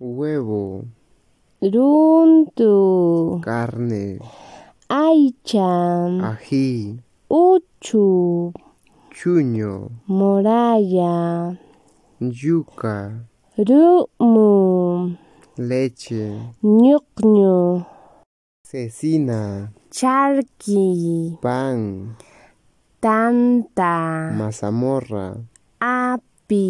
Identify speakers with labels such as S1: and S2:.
S1: huevo,
S2: runtu,
S1: carne, Ah.
S2: aicha,
S1: ají,
S2: uchu,
S1: chuño,
S2: moraya,
S1: yuca,
S2: rumu,
S1: leche,
S2: ñuqñu,
S1: cecina,
S2: charqui,
S1: pan,
S2: tanta,
S1: mazamorra,
S2: api,